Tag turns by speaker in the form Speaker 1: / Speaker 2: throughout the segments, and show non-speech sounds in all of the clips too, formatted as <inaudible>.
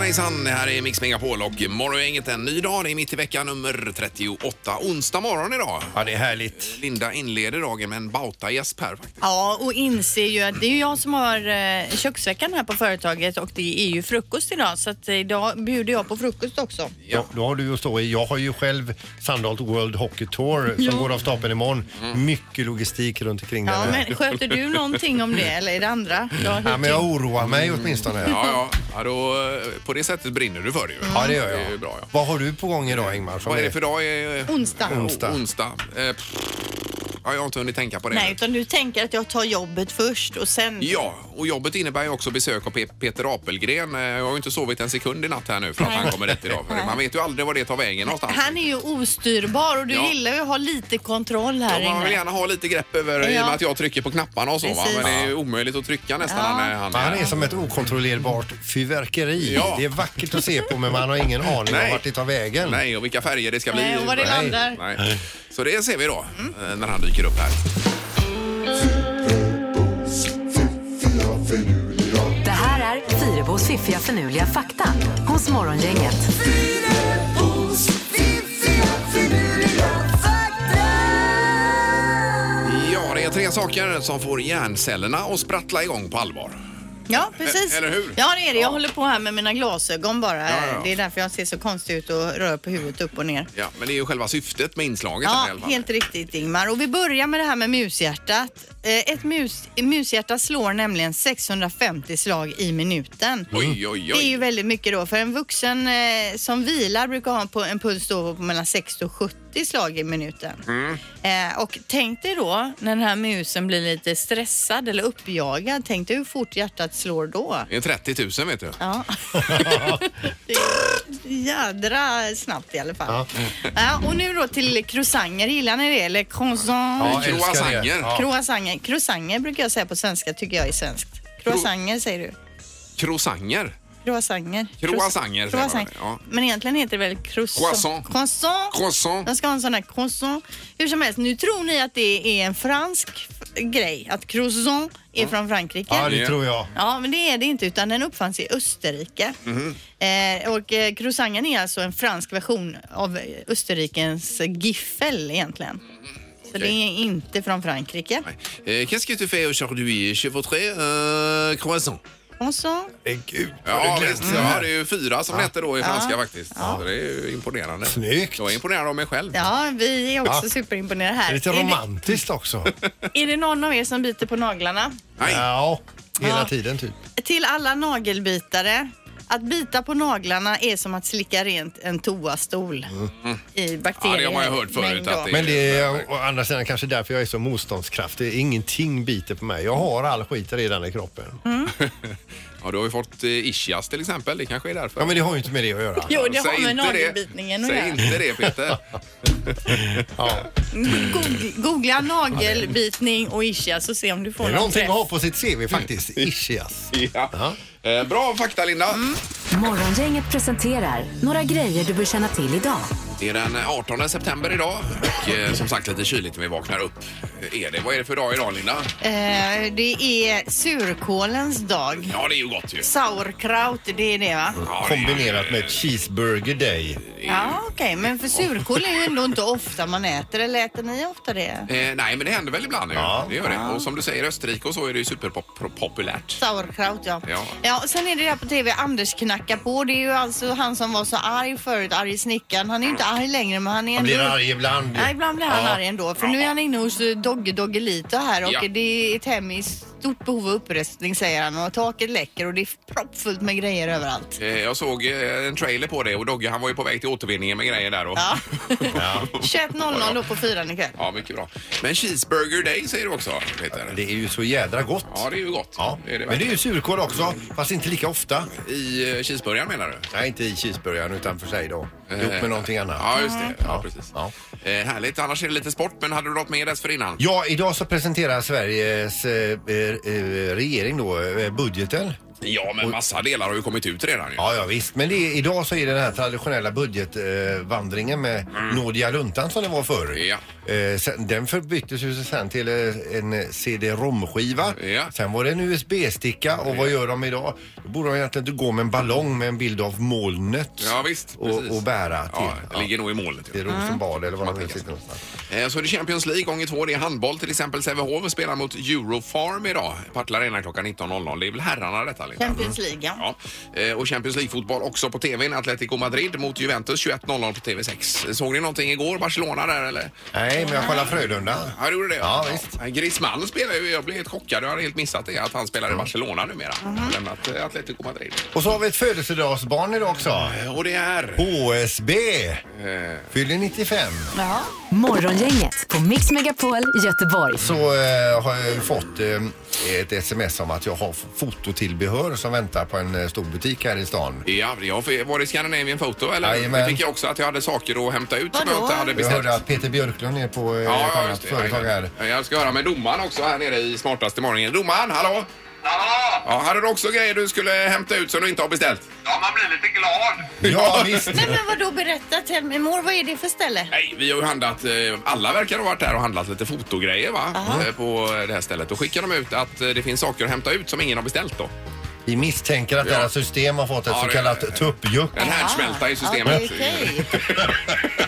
Speaker 1: hejsan, det här är Mix Megapol och morgongänget en ny dag. Det är mitt i veckan nummer 38. Onsdag morgon idag.
Speaker 2: Ja, det är härligt.
Speaker 1: Linda inleder dagen med en bauta-gäsp här faktiskt.
Speaker 3: Ja, och inser ju att det är ju jag som har eh, köksveckan här på företaget och det är ju frukost idag så att idag bjuder jag på frukost också.
Speaker 1: Ja.
Speaker 2: Då, då har du att stå i. Jag har ju själv Sandholt World Hockey Tour som går av stapeln imorgon.
Speaker 1: Mm.
Speaker 2: Mycket logistik runt omkring
Speaker 3: Ja,
Speaker 2: den. här.
Speaker 3: men sköter du någonting om det eller är det andra?
Speaker 1: Mm.
Speaker 3: Jag
Speaker 2: Ja, men jag oroar mig åtminstone. Ja.
Speaker 1: Ja, ja. ja då, eh, på det sättet brinner du för det ju.
Speaker 2: ja, det gör
Speaker 1: Det är ju
Speaker 2: jag.
Speaker 1: bra, ja.
Speaker 2: Vad har du på gång idag Ingmar? som
Speaker 1: Vad är det för dag? Eh,
Speaker 3: Onsdag.
Speaker 1: Onsdag. Onsdag. Eh, pff. Ja, jag har inte hunnit tänka på det.
Speaker 3: Nej, utan du tänker att jag tar jobbet först och sen...
Speaker 1: Ja, och jobbet innebär ju också besök av Pe- Peter Apelgren. Eh, Jag har ju inte sovit en sekund i natt här nu för att
Speaker 3: Nej.
Speaker 1: han kommer dit idag. För
Speaker 3: Nej.
Speaker 1: man vet ju aldrig var det tar vägen någonstans.
Speaker 3: Han är ju ostyrbar och du
Speaker 1: Ja.
Speaker 3: gillar ju att ha lite kontroll här
Speaker 1: Ja, man vill
Speaker 3: inne.
Speaker 1: gärna ha lite grepp över i och
Speaker 3: Ja.
Speaker 1: med att jag trycker på knapparna och så va?
Speaker 3: Precis.
Speaker 1: Men det är ju omöjligt att trycka nästan
Speaker 3: Ja.
Speaker 1: när han
Speaker 2: Men Han är
Speaker 1: är
Speaker 2: som ett okontrollerbart fyrverkeri.
Speaker 1: Ja.
Speaker 2: Det är vackert att se på men man har ingen aning
Speaker 1: Nej.
Speaker 2: om vart det tar vägen.
Speaker 1: Nej, och vilka färger det ska bli.
Speaker 3: Nej, och var det
Speaker 1: Nej.
Speaker 3: landar.
Speaker 1: Nej. Så det ser vi då eh, när han dyker upp här.
Speaker 4: Det här är Fyrabos fiffiga förnuliga fakta hos Morgongänget.
Speaker 1: Ja, det är tre saker som får hjärncellerna att sprattla igång på allvar.
Speaker 3: Ja, precis.
Speaker 1: E- eller hur?
Speaker 3: Ja, det är det. Jag håller på här med mina glasögon bara.
Speaker 1: Ja, ja, ja.
Speaker 3: Det är därför jag ser så konstig ut och rör på huvudet upp och ner.
Speaker 1: Ja, men det är ju själva syftet med inslaget. här i alla
Speaker 3: Ja,
Speaker 1: fall.
Speaker 3: helt riktigt Ingmar. Och vi börjar med det här med mushjärtat. Eh, Ett mus, mushjärta slår nämligen 650 slag i minuten.
Speaker 1: Oj, oj,
Speaker 3: Det är ju
Speaker 1: oj.
Speaker 3: väldigt mycket då. För en vuxen eh, som vilar brukar ha en, pu- en puls då på mellan 60 och 70 slag i minuten.
Speaker 1: Mm.
Speaker 3: Eh, och tänk dig då när den här musen blir lite stressad eller uppjagad. Tänk dig hur fort hjärtat slår då.
Speaker 1: Det är 30 000 vet du.
Speaker 3: Ja. <laughs> Det är jädra snabbt i alla fall. Ja. och nu då till croissanger. Gillar ni det? Eller croissant?
Speaker 2: Ja, jag älskar det.
Speaker 1: Croissanter.
Speaker 2: Ja.
Speaker 3: Croissanger. Croissanger brukar jag säga på svenska, tycker jag är svenskt. Croissanger säger du.
Speaker 1: Croissanger.
Speaker 3: Croissanger.
Speaker 1: Croissanger säger man
Speaker 3: Croissant.
Speaker 1: det, ja.
Speaker 3: Men egentligen heter det väl croissant?
Speaker 1: Croissant.
Speaker 3: Croissant.
Speaker 1: Croissant.
Speaker 3: Jag ska ha en sån här croissant. Hur som helst, nu tror ni att det är en fransk f- grej. Att croissant är från Frankrike.
Speaker 2: Ja, det tror jag.
Speaker 3: Ja, men det är det inte utan den uppfanns i Österrike.
Speaker 1: Mhm.
Speaker 3: Eh, och eh, croissanten är alltså en fransk version av eh, Österrikens giffel egentligen. Så det är inte från Frankrike.
Speaker 1: Eh, Qu'est-ce que tu fais aujourd'hui? Je voudrais euh, croissant.
Speaker 3: Och så,
Speaker 2: Eh, Gud,
Speaker 1: Ja,
Speaker 2: vad det
Speaker 1: visst.
Speaker 2: glänser.
Speaker 1: Ja, det är ju fyra som det hette då i franska faktiskt. Så det är ju imponerande.
Speaker 2: Snyggt.
Speaker 1: Jag är imponerad av mig själv.
Speaker 3: ja, vi är också
Speaker 2: Ja.
Speaker 3: superimponerade
Speaker 2: Det
Speaker 3: här.
Speaker 2: är lite romantiskt också.
Speaker 1: <laughs>
Speaker 3: är det någon av er som biter på naglarna?
Speaker 1: Nej.
Speaker 2: Ja, hela
Speaker 3: Ja.
Speaker 2: tiden typ.
Speaker 3: Till alla nagelbitare. Att bita på naglarna är som att slicka rent en toastol i
Speaker 1: Mm. Ja,
Speaker 3: bakterier.
Speaker 1: det har man ju hört förut.
Speaker 3: mängd
Speaker 1: Att
Speaker 3: då.
Speaker 1: det
Speaker 2: Men det är å andra sidan kanske därför jag är så motståndskraftig. Ingenting biter på mig. Jag har all skit redan i kroppen.
Speaker 1: <laughs> Mm. Ja, du har ju fått eh, ischias till exempel. Det kanske är därför.
Speaker 2: Ja, men det har ju inte med det att göra.
Speaker 3: Jo, det
Speaker 1: Säg
Speaker 3: har med
Speaker 1: inte det.
Speaker 3: nagelbitningen att
Speaker 1: Säg
Speaker 3: göra.
Speaker 1: inte det Peter.
Speaker 2: Ja.
Speaker 3: Goog- Googla nagelbitning och ischias och se om du får
Speaker 2: Det är
Speaker 3: någon
Speaker 2: någonting
Speaker 3: träff.
Speaker 2: att ha på sitt CV faktiskt. Ischias.
Speaker 1: Mm. ja. eh, bra fakta Linda.
Speaker 3: Mm.
Speaker 4: Morgongänget presenterar några grejer du bör känna till idag.
Speaker 1: Det är den 18 september idag och eh, som sagt lite kyligt när vi vaknar upp. Eh, Är det, vad är det för dag idag Linda?
Speaker 3: Eh, det är surkålens dag.
Speaker 1: Ja, det är ju gott ju.
Speaker 3: Sauerkraut, det är det va?
Speaker 2: Mm.
Speaker 1: Ja, det är ju-
Speaker 2: Kombinerat med cheeseburger day.
Speaker 3: Ja, okej. Men för surkål är ju ändå inte ofta man äter. Eller äter ni ofta det?
Speaker 1: Eh, nej, men det händer väl ibland. ju.
Speaker 2: Ja.
Speaker 1: Det gör det. Och som du säger, i Österrike och så är det ju superpopulärt.
Speaker 3: Sauerkraut, ja.
Speaker 1: Ja.
Speaker 3: ja och sen är det där på TV, Anders knackar på. Det är ju alltså han som var så arg förut, arg snickaren. Han är ju inte arg längre, men han är
Speaker 2: Man
Speaker 3: ändå...
Speaker 2: blir
Speaker 1: Mm.
Speaker 2: arg ibland.
Speaker 3: Ja, ibland blir han
Speaker 2: Ja.
Speaker 3: arg ändå. För nu är han inne hos eh, Dogge Doggelito här och
Speaker 1: Ja.
Speaker 3: det är ett hem i stort behov av upprustning säger han och taket läcker och det är proppfullt med grejer överallt.
Speaker 1: Eh, jag såg eh, en trailer på det och Dogge han var ju på väg till återvinningen med grejer där. Och...
Speaker 3: Ja.
Speaker 1: <laughs> ja.
Speaker 3: 21.00 då på fyran ikväll.
Speaker 1: Ja, mycket bra. Men Cheeseburger Day säger du också, Peter.
Speaker 2: Det är ju så jädra gott.
Speaker 1: Ja, det är ju gott.
Speaker 2: Ja.
Speaker 1: Det är det
Speaker 2: Men det är
Speaker 1: verkligen.
Speaker 2: ju surkål också, fast inte lika ofta.
Speaker 1: I eh, cheeseburgaren menar du?
Speaker 2: Nej, inte i cheeseburgaren utan för sig då. Ihop
Speaker 1: Eh,
Speaker 2: med någonting annat.
Speaker 1: Ja, just det. Ja, precis.
Speaker 2: Ja.
Speaker 1: Eh, härligt. Annars är det lite sport, men hade du något mer dessförinnan?
Speaker 2: Ja, idag så presenterar Sveriges eh, eh, eh, regering då eh, budgeten.
Speaker 1: Ja, men massa delar har ju kommit ut redan ju.
Speaker 2: Ja, ja visst. Men det är, idag så är det den här traditionella budgetvandringen eh, vandringen med nådiga runtan som det var förr.
Speaker 1: Mm. Ja.
Speaker 2: Eh, sen, den förbyttes ju sen till eh, en CD-ROM-skiva.
Speaker 1: Ja.
Speaker 2: Sen var det en USB-sticka och vad gör de idag? Då borde de egentligen inte gå med en ballong med en bild av molnet
Speaker 1: Ja, visst.
Speaker 2: och,
Speaker 1: precis.
Speaker 2: och bära till.
Speaker 1: Ja, Mm. det ligger nog i molnet.
Speaker 2: Det
Speaker 1: ju.
Speaker 2: är Rosenbad eller vad
Speaker 1: Man
Speaker 2: man nu
Speaker 1: tänker
Speaker 2: sitter någonstans.
Speaker 1: Eh, Så är det Champions League gånger två. Det är handboll till exempel. Sävehof spelar mot Eurofarm idag. Partille Arena klockan 19.00. Det är väl herrarna detta? Linda?
Speaker 3: Champions League, ja.
Speaker 1: Ja. Eh, Och Champions League-fotboll också på TVn. Atletico Madrid mot Juventus 21.00 på TV6. Såg ni någonting igår? Barcelona där eller?
Speaker 2: Nej, men jag kollar
Speaker 1: Mm.
Speaker 2: Frölunda.
Speaker 1: Ja, det gjorde det.
Speaker 2: Ja, visst.
Speaker 1: Griezmann spelar ju. Jag blev helt chockad. Jag hade helt missat det. Att han spelar i Barcelona numera.
Speaker 3: Mhm.
Speaker 1: Mm. Lämnat eh, Atletico Madrid.
Speaker 2: Och så har vi ett födelsedagsbarn idag också.
Speaker 1: Eh, Och det är...
Speaker 2: HSB
Speaker 1: Eh.
Speaker 2: fyller 95.
Speaker 4: Morgongänget på Mix Megapol Göteborg.
Speaker 2: så eh, har jag ju fått eh, ett sms om att jag har f- fototillbehör som väntar på en eh, stor butik här i stan.
Speaker 1: Ja, jag var det Scandinavian Photo eller?
Speaker 2: Jajamän.
Speaker 1: Det fick jag också att jag hade saker att hämta ut som jag
Speaker 3: Vadå?
Speaker 1: inte hade
Speaker 2: Jag
Speaker 1: beställt.
Speaker 2: hörde att Peter Björklund är på eh, ett
Speaker 1: Ja,
Speaker 2: annat
Speaker 1: just det.
Speaker 2: företag här.
Speaker 1: Ja, Jag ska höra med domaren också här nere i smartaste morgonen. Domaren, hallå!
Speaker 5: Ja,
Speaker 1: Ja, hade du också grejer du skulle hämta ut som du inte har beställt?
Speaker 5: ja, man blir lite
Speaker 1: <laughs>
Speaker 5: glad.
Speaker 2: Ja, visst.
Speaker 3: Nej men vadå berätta till mig mor, vad är det för ställe?
Speaker 1: Nej, vi har ju handlat, eh, alla verkar ha varit där och handlat lite fotogrejer va? Eh, På det här stället. Då skickar de ut att eh, det finns saker att hämta ut som ingen har beställt då.
Speaker 2: Vi misstänker att deras system har fått ett
Speaker 1: Ja,
Speaker 2: så
Speaker 1: det-
Speaker 2: kallat tuppjuck.
Speaker 1: En härdsmälta i systemet.
Speaker 3: Ja, det är okej. <laughs>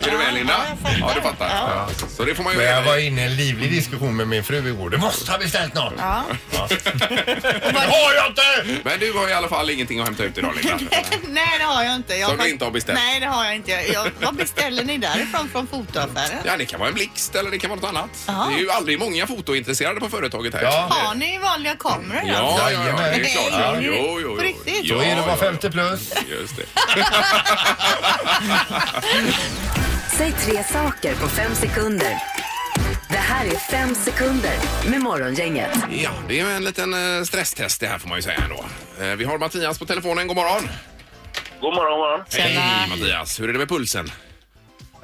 Speaker 1: Är du med Linda?
Speaker 3: Ja,
Speaker 1: Ja,
Speaker 3: jag fattar.
Speaker 1: du fattar. Ja. Så det får man ju...
Speaker 2: Men jag var inne i en livlig diskussion med min fru igår. Du måste ha beställt något!
Speaker 3: Ja. <laughs>
Speaker 2: Det har jag inte!
Speaker 1: Men du har i alla fall ingenting att hämta ut idag Linda.
Speaker 3: Nej det har jag inte. Jag
Speaker 1: Som du inte har beställt.
Speaker 3: Nej det har jag inte. Jag, jag, vad beställer ni därifrån från fotoaffären?
Speaker 1: Ja, det kan vara en blixt eller det kan vara något annat.
Speaker 3: Jaha.
Speaker 1: Det är ju aldrig många fotointresserade på företaget här.
Speaker 2: Ja.
Speaker 3: Har ni vanliga kameror? alltså?
Speaker 1: Ja, ja, ja, det är
Speaker 2: Nej,
Speaker 1: klart. Ja.
Speaker 3: är det-
Speaker 1: Jo, jo, jo.
Speaker 3: på riktigt?
Speaker 1: Ja,
Speaker 2: Då är det
Speaker 1: ja,
Speaker 2: bara 50 plus.
Speaker 1: ja. Just det.
Speaker 4: Säg tre saker på fem sekunder. Det här är fem sekunder med Morgongänget.
Speaker 1: Ja, det är ju en liten eh, stresstest det här får man ju säga ändå. Eh, Vi har Mattias på telefonen. God morgon.
Speaker 5: God morgon, god morgon.
Speaker 3: Tjena.
Speaker 1: Hej Mattias, hur är det med pulsen?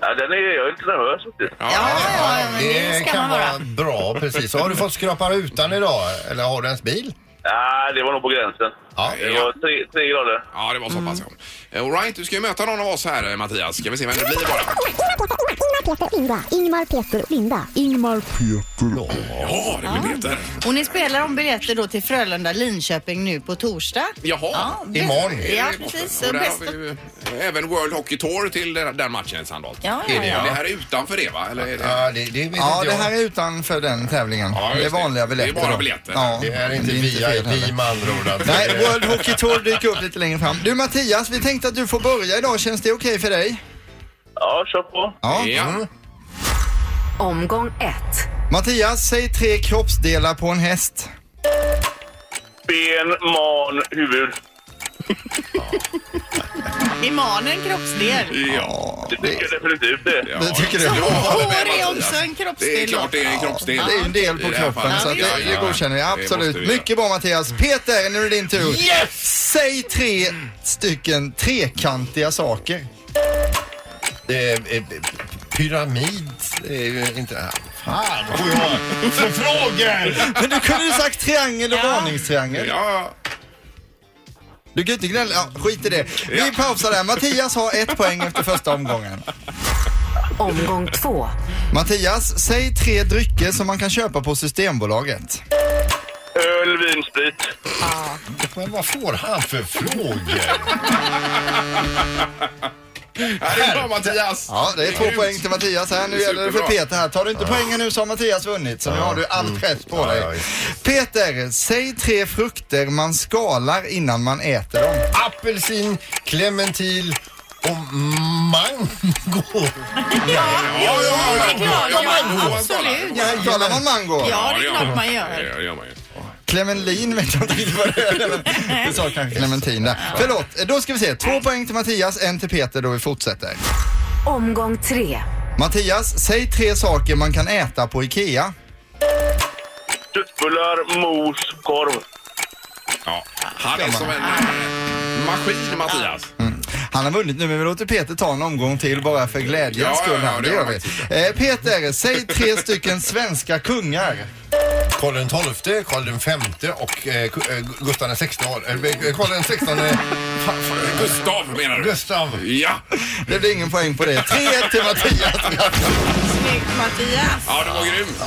Speaker 5: Ja, den är, jag är inte nervös faktiskt.
Speaker 3: Ja, ja, ja, men det
Speaker 2: Det
Speaker 3: ska
Speaker 2: kan
Speaker 3: man
Speaker 2: vara
Speaker 3: vara.
Speaker 2: bra, precis. Har du fått skrapa rutan idag? Eller har du ens bil?
Speaker 5: Ja, det var nog på gränsen.
Speaker 2: Ja.
Speaker 5: Det var tre, tre grader.
Speaker 1: Ja, det var
Speaker 3: Mm.
Speaker 1: så pass. ja. Eh, All right, du ska ju möta någon av oss här eh, Mattias. Ska vi se vem det blir bara.
Speaker 6: Ingmar, Peter, Linda. Ingmar, Peter, Linda. Ingmar,
Speaker 1: Ja, det blir Peter.
Speaker 3: Och ni spelar om biljetter då till Frölunda Linköping nu på torsdag?
Speaker 1: Jaha. Eh,
Speaker 3: Ja, bäst-
Speaker 2: Imorgon.
Speaker 3: Ja, precis.
Speaker 1: Och där
Speaker 3: Bäst
Speaker 1: har vi ju eh, även World Hockey Tour till den den matchen sannolikt.
Speaker 3: Ja,
Speaker 2: Är det,
Speaker 3: ja,
Speaker 1: Ja,
Speaker 3: ja.
Speaker 1: Det här är utanför det va? Eller är det...
Speaker 2: Ja, det, det vet
Speaker 7: Ja,
Speaker 2: inte
Speaker 7: det
Speaker 2: jag.
Speaker 7: här är utanför den tävlingen.
Speaker 1: Ja, just
Speaker 7: det är vanliga
Speaker 1: det. Det är
Speaker 7: biljetter.
Speaker 1: bara
Speaker 7: då.
Speaker 1: biljetter.
Speaker 7: Ja,
Speaker 2: Det är inte
Speaker 7: det är inte fel
Speaker 2: VIP
Speaker 7: heller.
Speaker 2: med andra ord. alltså.
Speaker 7: Nej, World Hockey Tour dyker upp lite längre fram. Du Mattias, vi tänkte att du får börja idag. Känns det okej för dig?
Speaker 5: Ja, kör på.
Speaker 7: Ja.
Speaker 1: Ja.
Speaker 4: Omgång ett.
Speaker 7: Mattias, säg tre kroppsdelar på en häst.
Speaker 5: Ben, man, huvud.
Speaker 3: Är man en kroppsdel?
Speaker 7: Ja,
Speaker 5: Det tycker jag definitivt det.
Speaker 1: Ja,
Speaker 7: Det tycker du?
Speaker 1: jag håller med,
Speaker 3: Hår är
Speaker 1: Mattias.
Speaker 3: också en kroppsdel,
Speaker 1: Det är klart det är en kroppsdel.
Speaker 7: det är ju en del
Speaker 1: I
Speaker 7: på
Speaker 1: det här
Speaker 7: kroppen
Speaker 1: fallet.
Speaker 7: så att
Speaker 1: Ja,
Speaker 7: det, det
Speaker 1: ja.
Speaker 7: godkänner
Speaker 1: Det
Speaker 7: jag
Speaker 1: måste
Speaker 7: absolut.
Speaker 1: vi göra.
Speaker 7: Mycket bra Mattias. Peter, nu är det din tur. Yes! Säg tre stycken trekantiga saker.
Speaker 2: Eh, eh, Pyramid är ju inte... Fan, vad jag för frågor!
Speaker 7: Men du kunde ju sagt triangel och varningstriangel.
Speaker 1: Ja,
Speaker 7: Du kan ju inte gnälla. Ja, skit i det. Vi pausar där. Mattias har ett poäng efter första omgången.
Speaker 4: Omgång två.
Speaker 7: Mattias, säg tre drycker som man kan köpa på Systembolaget.
Speaker 5: Öl, vin, sprit.
Speaker 2: Men vad får han för frågor?
Speaker 1: Ja, det är bra Mattias.
Speaker 7: Ja, det är två poäng till Mattias här. Nu
Speaker 1: Det är
Speaker 7: gäller det för
Speaker 1: superbra.
Speaker 7: Peter här. Tar du inte poängen nu så har Mattias vunnit. Så nu har du allt rätt på dig.
Speaker 2: ja, visst.
Speaker 7: Peter, säg tre frukter man skalar innan man äter dem.
Speaker 2: Apelsin, clementin och mango.
Speaker 1: Ja, ja, ja, ja, ja,
Speaker 3: man-
Speaker 1: ja,
Speaker 3: absolut.
Speaker 1: ja,
Speaker 7: Skalar man mango?
Speaker 3: Ja, det är
Speaker 1: ja,
Speaker 3: klart man gör.
Speaker 1: Ja, det gör man ju.
Speaker 7: Clementin vet jag inte riktigt vad det är. men Du sa kanske clementin där. Förlåt, eh, då ska vi se. Två poäng till Mattias, en till Peter då vi fortsätter.
Speaker 4: Omgång tre.
Speaker 7: Mattias, säg tre saker man kan äta på IKEA.
Speaker 5: Köttbullar, mos, korv.
Speaker 1: Ja. Han är som en eh, maskin Mattias.
Speaker 7: Mm. Han har vunnit nu, men vi låter Peter ta en omgång till bara för glädjens
Speaker 1: Ja,
Speaker 7: skull.
Speaker 1: ja,
Speaker 7: här.
Speaker 1: ja,
Speaker 7: det
Speaker 1: det
Speaker 7: gör
Speaker 1: har
Speaker 7: vi.
Speaker 1: jag
Speaker 7: Eh, Peter, säg tre stycken svenska kungar.
Speaker 2: Karl den XII, Karl den femte och eh, Ku- eh, Gustav den sextonde. Eh, Karl den sextonde. Fa- fa-
Speaker 1: Gustav menar du?
Speaker 2: Gustav.
Speaker 1: Ja,
Speaker 7: Det blir ingen poäng på det. 3-1 till Mattias.
Speaker 3: Snyggt Mattias!
Speaker 1: ja det var grymt.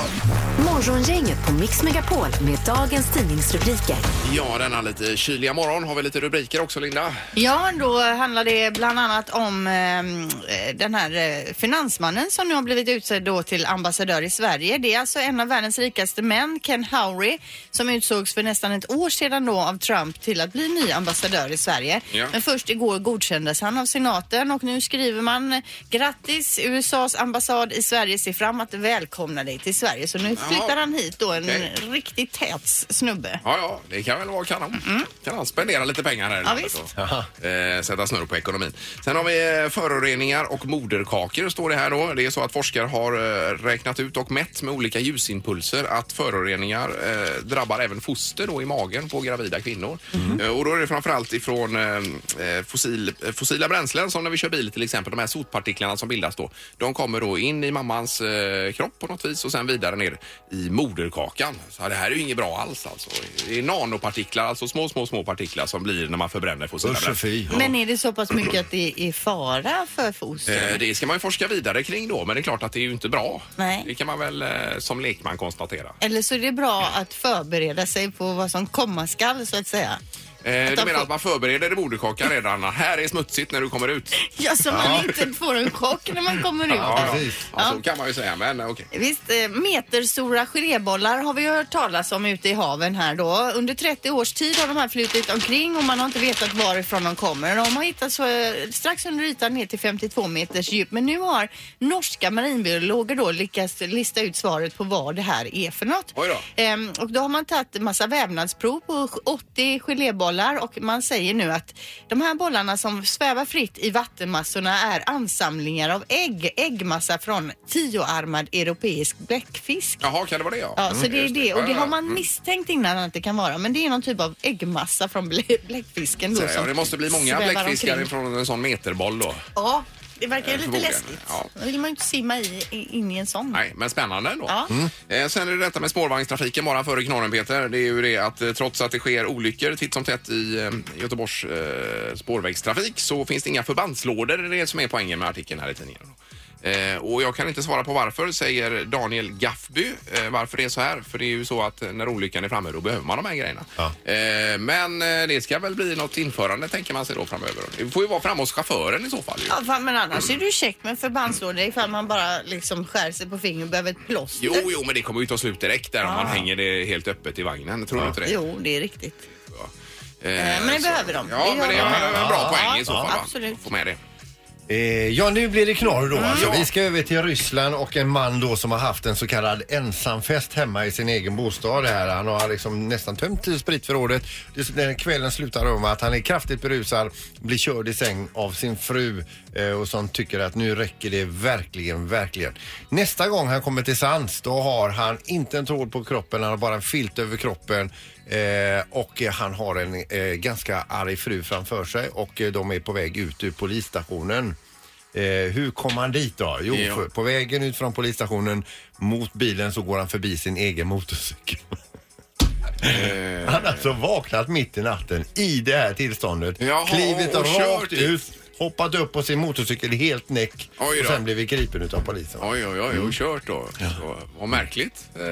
Speaker 4: Morgongänget på Mix Megapol med dagens tidningsrubriker.
Speaker 1: Ja, denna lite kyliga morgon har vi lite rubriker också Linda.
Speaker 3: Ja, då handlar det bland annat om eh, den här eh, finansmannen som nu har blivit utsedd då till ambassadör i Sverige. Det är alltså en av världens rikaste män, Ken Howery, som utsågs för nästan ett år sedan då av Trump till att bli ny ambassadör i Sverige.
Speaker 1: Ja.
Speaker 3: Men först igår godkändes han av senaten och nu skriver man eh, grattis USAs ambassad i Sverige ser fram att välkomna dig till Sverige. Så nu flyttar han hit då en
Speaker 1: Okej.
Speaker 3: riktigt tät snubbe.
Speaker 1: Ja, ja, det kan väl vara kanon. Kan han spendera lite pengar här i
Speaker 3: Mm. Ja,
Speaker 1: landet
Speaker 3: visst.
Speaker 1: och eh, sätta snurr på ekonomin. Sen har vi eh, föroreningar och moderkakor står det här då. Det är så att forskare har eh, räknat ut och mätt med olika ljusimpulser att föroreningar eh, drabbar även foster då i magen på gravida kvinnor.
Speaker 3: Mm.
Speaker 1: Eh, och då är det framförallt ifrån eh, eh, fossil, eh, fossila bränslen som när vi kör bil till exempel, de här sotpartiklarna som bildas då. De kommer då in i mammans eh, kropp på något vis och sen vidare ner i moderkakan. Så här, det här är ju inget bra alls alltså. Det är nanopartiklar, alltså små, små, små partiklar som blir när man förbränner fossila
Speaker 2: Usch och fy.
Speaker 3: Men är det så pass mycket att det är fara för fostret?
Speaker 1: Eh, Det ska man ju forska vidare kring då, men det är klart att det är ju inte bra.
Speaker 3: Nej.
Speaker 1: Det kan man väl eh, som lekman konstatera.
Speaker 3: Eller så är det bra att förbereda sig på vad som komma skall så att säga.
Speaker 1: Eh, Du
Speaker 3: han
Speaker 1: menar
Speaker 3: får-
Speaker 1: att man förbereder en moderkaka redan? Här är smutsigt när du kommer ut.
Speaker 3: Ja, så man inte får en chock när man kommer ut.
Speaker 1: Ja, Alltså- ja.
Speaker 2: precis.
Speaker 1: ja, så kan man ju säga, men eh, okej.
Speaker 3: Visst, eh, meterstora gelébollar har vi ju hört talas om ute i haven här då. Under 30 års tid har de här flutit omkring och man har inte vetat varifrån de kommer. De har hittats eh, strax under ytan ner till 52 meters djup. Men nu har norska marinbiologer då lyckats lista ut svaret på vad det här är för något.
Speaker 1: Oj då.
Speaker 3: Ehm, och då har man tagit massa vävnadsprov på 80 gelébollar och man säger nu att de här bollarna som svävar fritt i vattenmassorna är ansamlingar av ägg, äggmassa från tioarmad europeisk bläckfisk.
Speaker 1: Jaha, kan det vara det ja?
Speaker 3: Ja, så
Speaker 1: Mm,
Speaker 3: det är
Speaker 1: just
Speaker 3: det. Och det
Speaker 1: Ja, ja,
Speaker 3: har man
Speaker 1: mm.
Speaker 3: misstänkt innan att det kan vara. Men det är någon typ av äggmassa från blä- bläckfisken då.
Speaker 1: Ja,
Speaker 3: som
Speaker 1: det måste bli många
Speaker 3: svävar
Speaker 1: bläckfiskar
Speaker 3: omkring.
Speaker 1: från en sån meterboll då.
Speaker 3: Ja, det verkar ju lite
Speaker 1: Förmodligen,
Speaker 3: läskigt.
Speaker 1: ja.
Speaker 3: Då vill man ju inte simma i, i- in i en sån.
Speaker 1: Nej, men spännande ändå.
Speaker 3: Ja.
Speaker 1: Eh, sen är det detta med spårvagnstrafiken bara före knorren Peter. Det är ju det att eh, trots att det sker olyckor titt som tätt i eh, Göteborgs eh, spårvägstrafik så finns det inga förbandslådor. Det är det som är poängen med artikeln här i tidningen. Eh, och jag kan inte svara på varför, säger Daniel Gaffby. Eh, varför det är så här? För det är ju så att eh, när olyckan är framme då behöver man de här grejerna. Eh, men eh, det ska väl bli något införande tänker man sig då framöver. Det får ju vara framme hos chauffören i så fall. Ju.
Speaker 3: Ja, fan, men annars är det ju käckt med förbandslådor ifall man bara liksom skär sig på fingret och behöver ett plåster.
Speaker 1: Jo, jo, men det kommer ju ta slut direkt där om man hänger det helt öppet i vagnen. Tror du inte det?
Speaker 3: Ah. Jo, det är riktigt.
Speaker 1: Eh,
Speaker 3: men det behöver de.
Speaker 1: Ja,
Speaker 3: Det
Speaker 1: men det
Speaker 3: gör
Speaker 1: är
Speaker 3: de.
Speaker 1: en bra
Speaker 3: Ja,
Speaker 1: poäng i så
Speaker 3: ja,
Speaker 1: fall. va?
Speaker 3: absolut.
Speaker 1: Få med det.
Speaker 2: Eh, ja, nu blir det knorr då. Alltså,
Speaker 1: Ja.
Speaker 2: Vi ska över till Ryssland och en man då som har haft en så kallad ensamfest hemma i sin egen bostad. Här. Han har liksom nästan tömt spritförrådet. Det- Den kvällen slutar då med att han är kraftigt berusad, blir körd i säng av sin fru eh, och som tycker att nu räcker det verkligen, verkligen. Nästa gång han kommer till sans då har han inte en tråd på kroppen, han har bara en filt över kroppen. Eh, och eh, han har en eh, ganska arg fru framför sig och eh, de är på väg ut ur polisstationen. Eh, hur kom han dit då? Jo,
Speaker 1: Ja.
Speaker 2: för, på vägen ut från polisstationen mot bilen så går han förbi sin egen motorcykel.
Speaker 1: Eh.
Speaker 2: han har alltså vaknat mitt i natten i det här tillståndet.
Speaker 1: Jaha,
Speaker 2: klivit
Speaker 1: och kört
Speaker 2: rakt
Speaker 1: dit.
Speaker 2: ut, hoppat upp på sin motorcykel helt näck
Speaker 1: Oj
Speaker 2: och
Speaker 1: då.
Speaker 2: sen blivit gripen utav polisen.
Speaker 1: Oj, oj, oj, och kört då. Så, vad märkligt. Eh,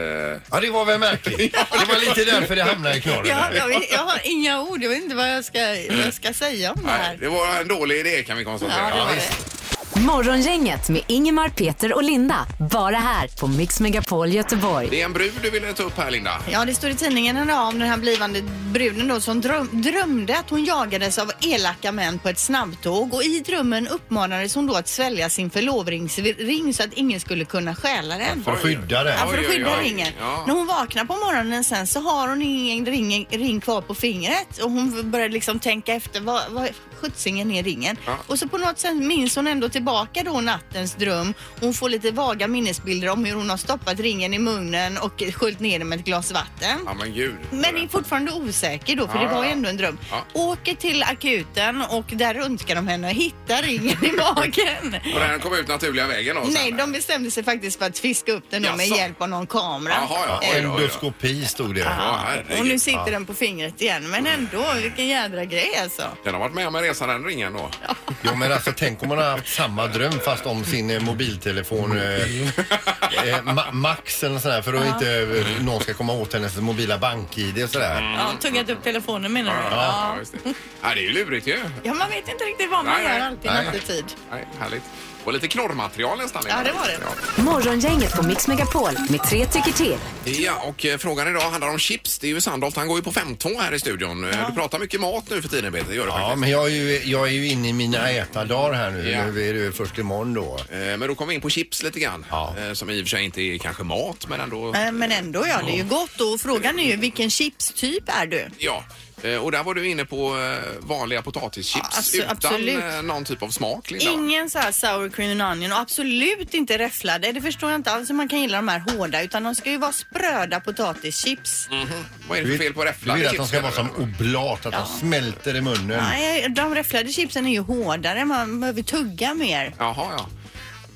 Speaker 2: Ja, det var
Speaker 1: <laughs>
Speaker 2: väl märkligt. Det var lite därför det hamnade i knorren.
Speaker 3: Jag,
Speaker 2: där.
Speaker 3: jag, vet- jag har inga ord. Jag vet inte vad jag ska, vad jag ska säga om det
Speaker 1: nej,
Speaker 3: här.
Speaker 1: det var en dålig idé kan vi konstatera.
Speaker 3: Ja, det var det.
Speaker 4: Morgongänget med Ingemar, Peter och Linda. Bara här på Mix Megapol Göteborg.
Speaker 1: Det är en brud du ville ta upp här, Linda.
Speaker 3: Ja, det står i tidningen idag om den här blivande bruden då som dröm, drömde att hon jagades av elaka män på ett snabbtåg och i drömmen uppmanades hon då att svälja sin förlovningsring så att ingen skulle kunna stjäla den.
Speaker 2: För att skydda det.
Speaker 3: Ja, för
Speaker 1: Oj,
Speaker 3: att
Speaker 1: oj,
Speaker 3: skydda
Speaker 1: oj.
Speaker 3: Alltså, ringen.
Speaker 1: Ja.
Speaker 3: När hon vaknar på morgonen sen så har hon ingen ring, ring kvar på fingret och hon börjar liksom tänka efter vad, vad sjuttsingen är ringen.
Speaker 1: Ja.
Speaker 3: Och så på något sätt minns hon ändå tillbaka tillbaka då nattens dröm. Hon får lite vaga minnesbilder om hur hon har stoppat ringen i munnen och sköljt ner den med ett glas vatten.
Speaker 1: Ja, men gud.
Speaker 3: Men är fortfarande osäker då, för
Speaker 1: Ja,
Speaker 3: det var ju
Speaker 1: ja.
Speaker 3: ändå en dröm.
Speaker 1: Ja.
Speaker 3: Åker till akuten och där röntgar de henne och hittar ringen i magen.
Speaker 1: Och den kom ut naturliga vägen då? sen?
Speaker 3: Nej, de bestämde sig faktiskt för att fiska upp den då med
Speaker 1: Jaså?
Speaker 3: hjälp av någon kamera.
Speaker 1: Jaha, ja. Oj, oj, oj.
Speaker 2: Endoskopi stod det.
Speaker 1: Ja,
Speaker 3: Och nu
Speaker 1: herregud.
Speaker 3: sitter den på fingret igen, men ändå, vilken jädra grej alltså.
Speaker 1: Den har varit med om en resa den ringen då.
Speaker 2: Jo men alltså tänk om man har haft samma dröm fast om sin eh, mobiltelefon eh, eh, ma- Max eller sådär för att inte eh, någon ska komma åt hennes mobila bank-id och
Speaker 1: Mm,
Speaker 2: sådär.
Speaker 3: Ja, tuggat upp telefonen menar du?
Speaker 1: Ja,
Speaker 3: Ja.
Speaker 1: just det. Ja, det är ju lurigt ju.
Speaker 3: ja, man vet inte riktigt vad man
Speaker 1: Nej, nej.
Speaker 3: gör alltid
Speaker 1: Nej.
Speaker 3: nattetid.
Speaker 1: Nej, härligt. Och lite knorrmaterial nästan.
Speaker 3: Ja, det var det.
Speaker 4: Morgongänget på Mix Megapol med tre tycker till.
Speaker 1: Ja, och eh, frågan idag handlar om chips. Det är ju Sandholt, han går ju på 5-2 här i studion. Eh, Du pratar mycket mat nu för tiden, Peter. Gör du
Speaker 2: Ja
Speaker 1: faktiskt.
Speaker 2: men jag är ju, jag är ju inne i mina ätardagar här nu.
Speaker 1: Ja.
Speaker 2: Nu är det ju först imorgon då.
Speaker 1: Eh, Men då kommer vi in på chips lite grann.
Speaker 2: Ja.
Speaker 1: Eh, Som i och för sig inte är kanske mat, men ändå.
Speaker 3: Nej, Eh, Men ändå, ja, det är ju gott. Och frågan är ju vilken chipstyp är du?
Speaker 1: Ja. Eh, Och där var du inne på eh, vanliga potatischips
Speaker 3: Ja, alltså,
Speaker 1: utan
Speaker 3: absolut.
Speaker 1: eh, någon typ av smak. Linda.
Speaker 3: Ingen så här sour cream and onion och absolut inte räfflade. Det förstår jag inte alls hur man kan gilla de här hårda utan de ska ju vara spröda potatischips.
Speaker 1: Mm. Vad är det för fel på
Speaker 2: Du
Speaker 1: räfflade
Speaker 2: vill att de ska vara
Speaker 1: menar
Speaker 2: som
Speaker 1: du?
Speaker 2: oblat, att de smälter i munnen.
Speaker 3: Nej, de räfflade chipsen är ju hårdare. Man behöver tugga mer.
Speaker 1: Jaha, ja.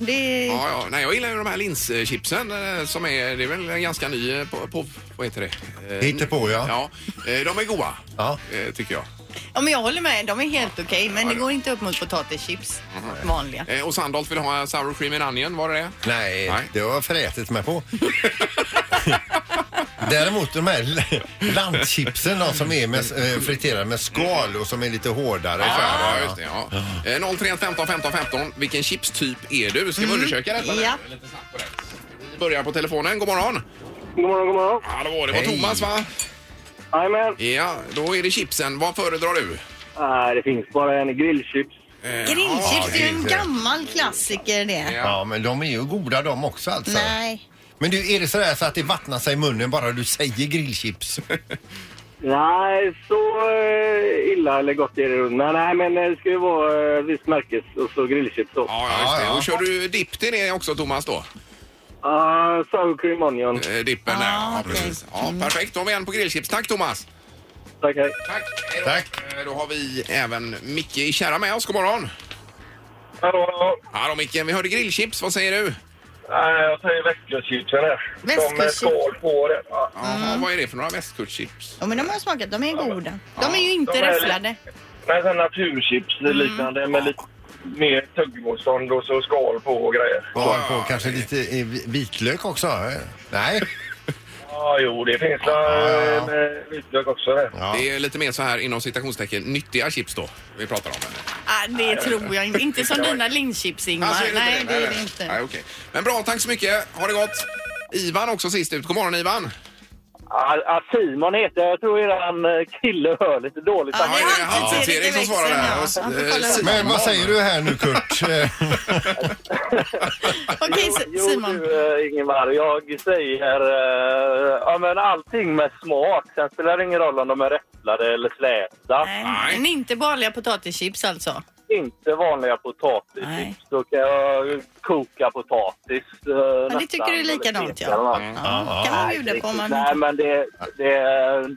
Speaker 3: Det...
Speaker 1: ja, ja. Nej, jag gillar ju de här linschipsen eh, som är, det är väl en ganska ny eh, på, på vad heter det? Eh,
Speaker 2: Hittar på, ja.
Speaker 1: Ja, eh, de är goda.
Speaker 2: Ja.
Speaker 1: eh, Tycker jag.
Speaker 3: Ja, men jag håller med. De är helt okej, men
Speaker 1: Ja,
Speaker 3: det
Speaker 1: det-
Speaker 3: går inte upp mot potatischips. Vanliga.
Speaker 1: Eh, Och Sandholt vill ha sour cream and onion, var det det?
Speaker 2: Nej,
Speaker 1: Nej.
Speaker 2: det har jag frätit mig på. <laughs> Däremot de här landchipsen då, som är med, eh, friterade med skal och som är lite hårdare. så här,
Speaker 1: Ja, just det. Ja. Eh, 031 15 15 15. Vilken chipstyp är du? Ska vi undersöka detta? nu?
Speaker 3: Ja.
Speaker 1: Lite snabbt på det. Vi börjar på telefonen. God morgon!
Speaker 8: God morgon, god morgon.
Speaker 1: Hallå, det var
Speaker 2: Hej.
Speaker 1: Thomas va?
Speaker 8: Jajamän.
Speaker 1: Ja, då är det chipsen. Vad föredrar du?
Speaker 8: Nej, det finns bara en grillchips.
Speaker 1: Eh, ja,
Speaker 3: Grillchips är ju en
Speaker 2: det är-
Speaker 3: gammal klassiker det.
Speaker 1: Ja.
Speaker 2: Ja, men de är ju goda de också alltså.
Speaker 3: Nej.
Speaker 2: Men du, är det sådär så att det vattnar sig i munnen bara du säger grillchips?
Speaker 8: Nej, så eh, illa eller gott är det nog. Nej, nej, men det ska ju vara eh, visst märkes och så grillchips då.
Speaker 1: Ja, ja, just
Speaker 2: Ja,
Speaker 1: det.
Speaker 2: ja.
Speaker 1: Och kör du dipp till det också Thomas då?
Speaker 8: Ah, sour cream onion.
Speaker 1: Eh, Dippen där, ja
Speaker 3: Ah, okej.
Speaker 1: precis. Ja, perfekt, då har vi en på grillchips. Tack Thomas!
Speaker 8: Tack, hej.
Speaker 1: Tack! Hej då.
Speaker 2: Tack.
Speaker 1: Eh, Då har vi även Micke i Kärra med oss. God morgon!
Speaker 8: Hallå, hallå.
Speaker 1: Hallå Micke, vi hörde grillchips. Vad säger du?
Speaker 8: Nej, jag säger västkustchipsen här. De är
Speaker 3: Västkustchips.
Speaker 8: skål på det. Ja.
Speaker 1: Jaha,
Speaker 3: Mm.
Speaker 1: Vad är det för några västkustchips?
Speaker 3: Ja, men de har jag smakat. De är goda. De är ju
Speaker 8: De
Speaker 3: inte
Speaker 8: är-
Speaker 3: räfflade.
Speaker 8: Men sen naturchips liknande med lite mer tuggmotstånd och så skal på och grejer.
Speaker 2: Och har på kanske lite eh, vitlök också? eh? Nej?
Speaker 8: Ja, jo, det finns
Speaker 2: ja, ja.
Speaker 8: ja, med vitlök också det.
Speaker 2: Ja.
Speaker 1: Det är lite mer så här inom citationstecken nyttiga chips då vi pratar om.
Speaker 3: Ah, det tror jag inte. Inte som dina linchips, Ingmar.
Speaker 1: Alltså, är
Speaker 3: Nej, det är det
Speaker 1: Nej,
Speaker 3: inte.
Speaker 1: okej. Men bra, tack så mycket. Ha det gott. Ivan också sist ut. God morgon Ivan.
Speaker 8: Ja, ja, Ah, Simon heter jag. Jag tror eran kille hör lite dåligt.
Speaker 3: Ja,
Speaker 1: Ja,
Speaker 3: det är Hans-Erik
Speaker 1: Hans-Erik
Speaker 3: i
Speaker 1: som
Speaker 3: växeln,
Speaker 1: svarar
Speaker 3: ja. Han får kolla
Speaker 1: där.
Speaker 3: upp.
Speaker 2: Men vad säger du här nu Kurt?
Speaker 7: <laughs>
Speaker 2: Eh,
Speaker 8: <laughs>
Speaker 3: Okej, S-
Speaker 8: Jo,
Speaker 3: Simon.
Speaker 8: du eh, Ingemar, jag säger eh, ja, men allting med smak. Sen spelar det ingen roll om de är räfflade eller släta.
Speaker 1: Nej.
Speaker 3: Nej. Men inte vanliga potatischips alltså?
Speaker 8: Inte vanliga
Speaker 3: Nej.
Speaker 8: potatischips. Då kan jag koka potatis.
Speaker 3: det tycker
Speaker 8: eh, nästan,
Speaker 3: du är
Speaker 8: eller
Speaker 3: likadant,
Speaker 8: steka
Speaker 3: ja. Mm.
Speaker 8: eller något.
Speaker 3: Ja, kan man
Speaker 8: Nej,
Speaker 3: bjuda på om man...
Speaker 8: Nej, men det, det,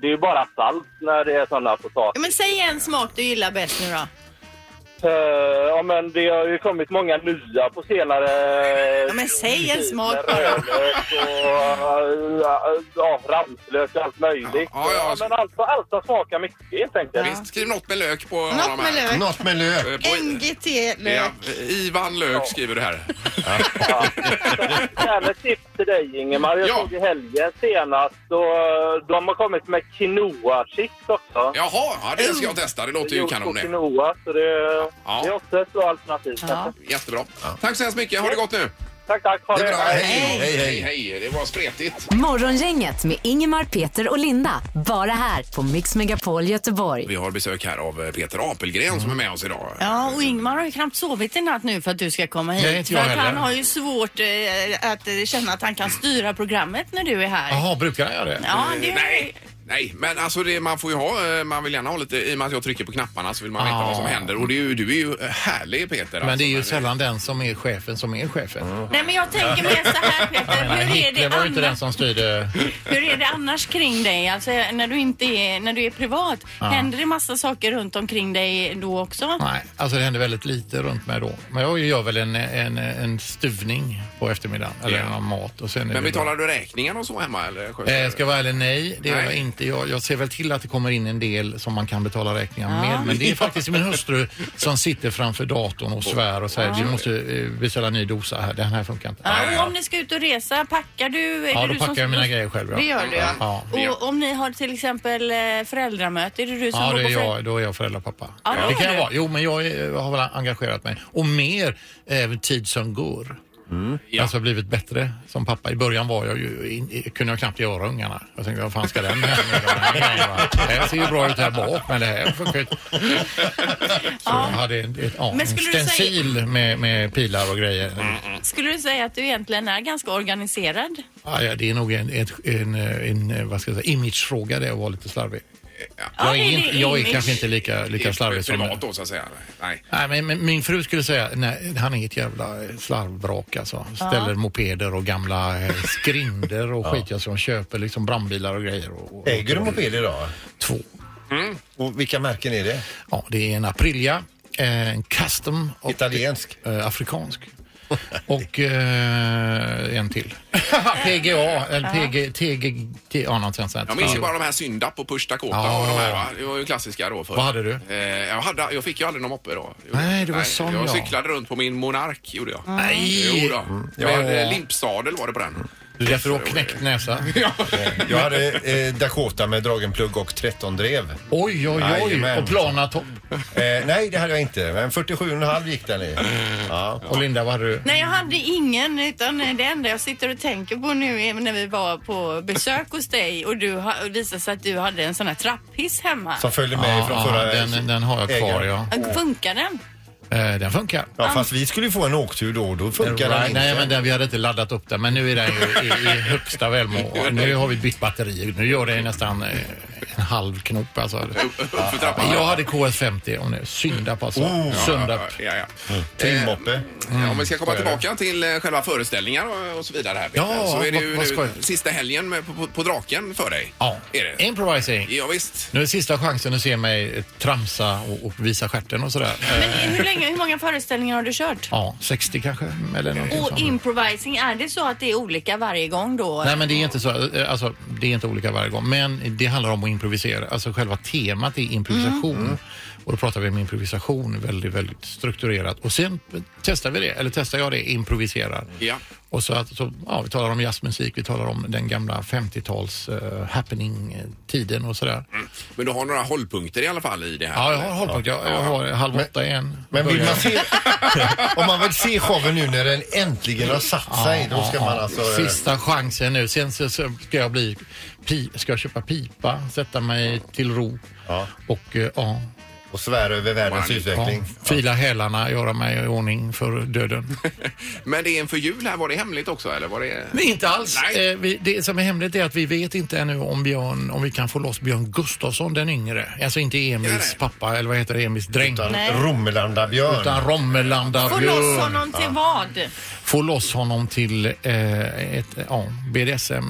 Speaker 8: det är ju bara salt när det är sådana
Speaker 3: Ja,
Speaker 8: potatis.
Speaker 3: men säg en smak du gillar bäst nu då.
Speaker 8: Eh, Ja, men det har ju kommit många nya på senare...
Speaker 3: Ja, men säg en smak bara.
Speaker 8: Rödlök och ja, ja, ramslök och allt möjligt.
Speaker 1: Ja, ja, ja.
Speaker 8: men allt, allt som smakar mycket helt enkelt.
Speaker 1: Visst, skriv något med lök på någon av
Speaker 3: Något
Speaker 1: de här.
Speaker 3: med lök.
Speaker 2: Något med lök?
Speaker 1: Eh, på- Ja,
Speaker 3: NGT-lök.
Speaker 1: Ivan Lök skriver du här.
Speaker 8: Ja. Det här med tips till dig Ingemar. Jag
Speaker 1: Ja.
Speaker 8: såg i helgen senast och eh, de har kommit med quinoa-chips också.
Speaker 1: Jaha, ja, det ska jag testa. Det låter ju
Speaker 8: Gjort
Speaker 1: kanon
Speaker 8: på
Speaker 1: det.
Speaker 8: quinoa, så det,
Speaker 1: Ja.
Speaker 8: det är också ett bra alternativ.
Speaker 3: Ja.
Speaker 1: Jättebra. Tack så hemskt mycket. Ha det gott nu.
Speaker 8: Tack, tack. Ha
Speaker 2: Det är bra, hej,
Speaker 3: Hej.
Speaker 2: hej,
Speaker 1: Hej,
Speaker 2: hej.
Speaker 1: hej. Det var spretigt.
Speaker 4: Morgongänget med Ingemar, Peter och Linda. Bara här på Mix Megapol Göteborg.
Speaker 1: Vi har besök här av eh, Peter Apelgren som är med oss idag.
Speaker 3: Ja, och Ingmar har ju knappt sovit i natt nu för att du ska komma hit.
Speaker 2: Nej, inte
Speaker 3: för
Speaker 2: jag
Speaker 3: att han
Speaker 2: heller.
Speaker 3: har ju svårt eh, att eh, känna att han kan styra programmet när du är här.
Speaker 2: Jaha, brukar jag göra det?
Speaker 3: Ja, det
Speaker 1: Nej, Nej, men alltså det, man får ju ha, eh, man vill gärna ha lite, i och med att jag trycker på knapparna så vill man veta
Speaker 2: Ja.
Speaker 1: vad som händer. Och det är ju, du är ju eh, härlig Peter.
Speaker 2: Men det är ju
Speaker 1: alltså,
Speaker 2: sällan den som är chefen som är chefen.
Speaker 3: Nej men jag tänker mer så här
Speaker 2: <laughs> Jag menar,
Speaker 3: Peter, hur är det
Speaker 2: Hitler var ju inte den
Speaker 3: annars?
Speaker 2: som styrde.
Speaker 3: Hur är det annars kring dig? Alltså när du inte är, när du är privat, händer det massa saker runt omkring dig då också?
Speaker 2: Nej, alltså det hände väldigt lite runt mig då. Men jag gör väl en, en, en stuvning på eftermiddagen, eller
Speaker 1: Ja.
Speaker 2: någon mat. Och sen är
Speaker 1: Men
Speaker 2: det bra.
Speaker 1: betalar du räkningar och så hemma eller? sköter
Speaker 2: Eh,
Speaker 1: du?
Speaker 2: ska jag vara ärlig, nej. Det gör
Speaker 1: Nej.
Speaker 2: jag inte. Jag, jag ser väl till att det kommer in en del som man kan betala räkningar med. Men det är faktiskt min hustru som sitter framför datorn och svär och säger vi måste eh, beställa en ny dosa här. Den här funkar inte.
Speaker 3: Ja, och om ni ska ut och resa, packar du? Är
Speaker 2: Ja,
Speaker 3: det
Speaker 2: då
Speaker 3: du som-
Speaker 2: packar jag mina grejer själv.
Speaker 3: Det gör du ja.
Speaker 2: Ja.
Speaker 3: Och om ni har till exempel eh, föräldramöte, är det du som
Speaker 2: Ja,
Speaker 3: går
Speaker 2: det är
Speaker 3: på
Speaker 2: jag, då är jag föräldrapappa.
Speaker 3: Ja, då
Speaker 2: det
Speaker 3: är
Speaker 2: kan jag
Speaker 3: du.
Speaker 2: vara. Jo, men jag är, har väl engagerat mig. Och mer eh, tid som går.
Speaker 8: Mm.
Speaker 1: Ja.
Speaker 2: Alltså blivit bättre som pappa. I början var jag ju, in, i- kunde jag knappt göra ungarna. Jag tänkte, vad fan ska den här med de här grejerna vara? Det här ser ju bra ut här bak, men det här funkar ju inte. Så jag hade en, ett, ja,
Speaker 3: Men
Speaker 2: en
Speaker 3: skulle du säga- Mm.
Speaker 2: stencil med, med pilar och grejer.
Speaker 3: Skulle du säga att du egentligen är ganska organiserad?
Speaker 2: Ja, ja, det är nog en, ett, en, eh, en, eh, vad ska jag säga, imagefråga det att vara lite slarvig. Jag
Speaker 3: det
Speaker 2: är,
Speaker 3: är
Speaker 2: inte,
Speaker 3: det,
Speaker 2: jag är
Speaker 3: image.
Speaker 2: kanske inte lika, lika slarvig som...
Speaker 1: Privat då så att säga? Nej.
Speaker 2: Nej, men, men min fru skulle säga nej, han är ett jävla eh, slarvvrak alltså. Ställer mopeder och gamla eh, skrinder och skit. Alltså, de köper liksom brandbilar och grejer. Och, och,
Speaker 8: Äger du moped idag?
Speaker 2: Två.
Speaker 8: Och vilka märken är det?
Speaker 2: Ja, det är en Aprilia, eh, en Custom och
Speaker 8: Italiensk?
Speaker 2: eh, afrikansk. Och eh, en till. PGA, eller PG, TG, T, ja, något sånt.
Speaker 1: Jag minns ju bara de här Syndap och Push Dakota
Speaker 2: Ja.
Speaker 1: och de här va? Det var ju klassiska då förr.
Speaker 2: Vad hade du?
Speaker 1: Eh, jag, hade, jag fick ju aldrig någon moppe då. Gjorde
Speaker 2: Nej,
Speaker 1: jag.
Speaker 2: det var sån,
Speaker 1: Jag
Speaker 2: ja.
Speaker 1: cyklade runt på min Monark gjorde jag.
Speaker 2: Nej!
Speaker 1: Jo då. Med eh, limpsadel var det på den.
Speaker 2: Det är därför du har knäckt näsa.
Speaker 1: <laughs>
Speaker 8: Jag hade eh, Dakota med dragen plugg och 13 drev.
Speaker 2: Oj, oj, oj.
Speaker 8: Jajamän.
Speaker 2: Och plana topp.
Speaker 8: Eh, nej, det hade jag inte. Men 47,5 gick den i. Ja.
Speaker 2: Och Linda, vad hade du?
Speaker 3: Nej, jag hade ingen, utan det enda jag sitter och tänker på nu är när vi var på besök hos dig och du ha- och det visade sig att du hade en sån här trapphiss hemma.
Speaker 8: Som följde med
Speaker 2: Ja,
Speaker 8: från
Speaker 2: ja,
Speaker 8: förra...
Speaker 2: den, den har jag kvar,
Speaker 8: ägaren.
Speaker 2: ja.
Speaker 3: Funkar den?
Speaker 2: Eh, Den funkar.
Speaker 8: Ja, fast vi skulle ju få en åktur då och då funkar den
Speaker 2: Right.
Speaker 8: inte.
Speaker 2: Nej, men den, vi hade inte laddat upp den, men nu är den ju i, i högsta
Speaker 8: <laughs>
Speaker 2: välmående. Nu har vi bytt batteri. Nu gör det nästan eh, en halv knop alltså.
Speaker 1: Upp- Uppför trappan.
Speaker 2: Jag hade KS50 om det. Syndapp alltså.
Speaker 8: Oh.
Speaker 2: Söndag.
Speaker 1: Ja, ja.
Speaker 2: Mm.
Speaker 1: Eh,
Speaker 8: Trimmoppe.
Speaker 1: Ja, om vi ska komma tillbaka till eh, själva föreställningar och- och så vidare här Peter,
Speaker 2: Ja,
Speaker 1: så är det
Speaker 2: vad-
Speaker 1: ju
Speaker 2: vad skoj.
Speaker 1: nu sista helgen med, på, på, på Draken för dig.
Speaker 2: Ja.
Speaker 1: Är det?
Speaker 2: Improvising.
Speaker 1: Ja, visst.
Speaker 2: Nu är det sista chansen att se mig eh, tramsa och, och visa stjärten och sådär. Eh,
Speaker 3: Men hur, länge, hur många föreställningar har du kört?
Speaker 2: Ja, 60 kanske eller någonting
Speaker 3: Och
Speaker 2: sånt.
Speaker 3: improvising, är det så att det är olika varje gång då?
Speaker 2: Nej men det är inte så, eh, alltså det är inte olika varje gång. Men det handlar om att improvisera. Alltså själva temat är improvisation.
Speaker 1: Mm.
Speaker 2: Och då pratar vi om improvisation väldigt, väldigt strukturerat. Och sen testar vi det, eller testar jag det, improviserar.
Speaker 1: Ja.
Speaker 2: Och så att, så, ja, vi talar om jazzmusik, vi talar om den gamla 50-tals eh, happening-tiden och sådär.
Speaker 1: Men du har några hållpunkter i alla fall i det här.
Speaker 2: Ja, jag har hållpunkt. Jag, jag har halv åtta igen.
Speaker 8: Men vill man
Speaker 2: Börjar-
Speaker 8: se, <laughs> om man vill se showen nu när den äntligen har satt sig, då ska
Speaker 2: Ja,
Speaker 8: man alltså... eh,
Speaker 2: Sista chansen nu. Sen så så ska jag bli... Pi, ska jag köpa pipa, sätta mig till ro
Speaker 8: Ja.
Speaker 2: och eh, ja,
Speaker 8: Och svära över världens
Speaker 1: Man-
Speaker 2: ja,
Speaker 8: utveckling.
Speaker 2: fila hälarna, göra mig i ordning för döden.
Speaker 1: Men det är inför jul här, var det hemligt också eller? Var det...
Speaker 2: Nej, inte alls.
Speaker 1: Nej.
Speaker 2: Eh, vi, det som är hemligt är att vi vet inte ännu om, Björn, om vi kan få loss Björn Gustafsson den yngre. Alltså inte
Speaker 1: Nej,
Speaker 2: Emils
Speaker 1: nej.
Speaker 2: pappa, eller vad heter det, Emils dräng.
Speaker 8: Utan
Speaker 2: Utan,
Speaker 3: Nej.
Speaker 8: Romelanda-björn.
Speaker 2: Romelanda
Speaker 3: Få loss honom till vad?
Speaker 2: få loss honom till eh, ett ja,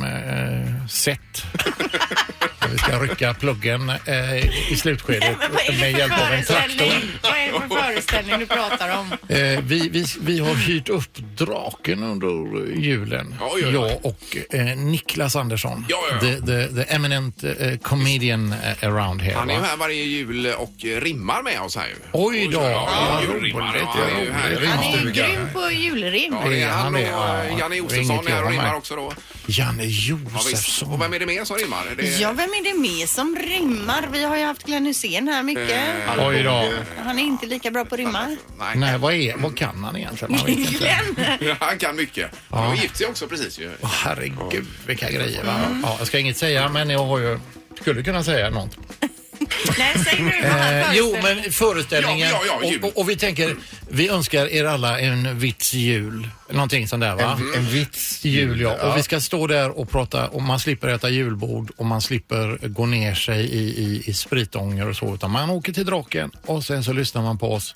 Speaker 2: BDSM-set. eh, vi ska rycka pluggen eh, i slutskedet med hjälp av en traktor.
Speaker 3: föreställning? Vad är det för föreställning du pratar om?
Speaker 2: Eh, vi, vi, vi har hyrt upp draken under julen.
Speaker 1: Oj, oj, oj.
Speaker 2: Jag och eh, Niklas Andersson.
Speaker 1: Ja, ja, ja.
Speaker 2: The, the, the eminent eh, comedian eh, around here.
Speaker 1: Han är
Speaker 2: va?
Speaker 1: ju här varje jul och eh, rimmar med oss här ju.
Speaker 2: Oj då.
Speaker 1: Ja,
Speaker 2: Ja,
Speaker 1: julrimmar.
Speaker 2: roligt,
Speaker 1: Ja, han är ju
Speaker 2: ja,
Speaker 1: här.
Speaker 8: roligt.
Speaker 3: Han är
Speaker 8: Rimstuga.
Speaker 3: grym på julrim.
Speaker 1: Ja, det är
Speaker 2: Ja,
Speaker 1: han
Speaker 2: han
Speaker 1: och
Speaker 2: är- ja,
Speaker 1: eh, Janne
Speaker 2: det är
Speaker 1: Josefsson
Speaker 2: inget
Speaker 1: är här och
Speaker 2: jag har
Speaker 1: rimmar
Speaker 2: med.
Speaker 1: också då.
Speaker 2: Janne
Speaker 1: Ja, visst. Och
Speaker 2: Josefsson.
Speaker 1: vem är det mer som rimmar? Det är-
Speaker 9: Ja, vem är det med som rimmar? Vi har ju haft Glenn Hysén här mycket.
Speaker 2: Oj då.
Speaker 9: Han är inte lika bra på att rimma.
Speaker 1: Nej.
Speaker 2: Nej, vad, är, vad kan han egentligen? Man vet inte.
Speaker 1: <laughs> Han kan mycket. Han har gift sig också precis ju.
Speaker 2: Åh, herregud, vilka grejer. Va? Ja, jag ska inget säga, men jag har ju... Skulle kunna säga något.
Speaker 3: Nej, säg nu vad han
Speaker 2: Eh, jo,
Speaker 3: föreställer.
Speaker 2: men föreställningen.
Speaker 1: Ja, ja, ja, jul.
Speaker 2: och, och, och vi tänker, vi önskar er alla en vits jul. Eh,
Speaker 8: någonting sånt där va?
Speaker 2: En, en vits.
Speaker 8: Jul ja.
Speaker 2: Ja.
Speaker 8: Och vi ska stå där och prata och man slipper äta julbord och man slipper gå ner sig i, i, i spritånger och så utan man åker till draken och sen så lyssnar man på oss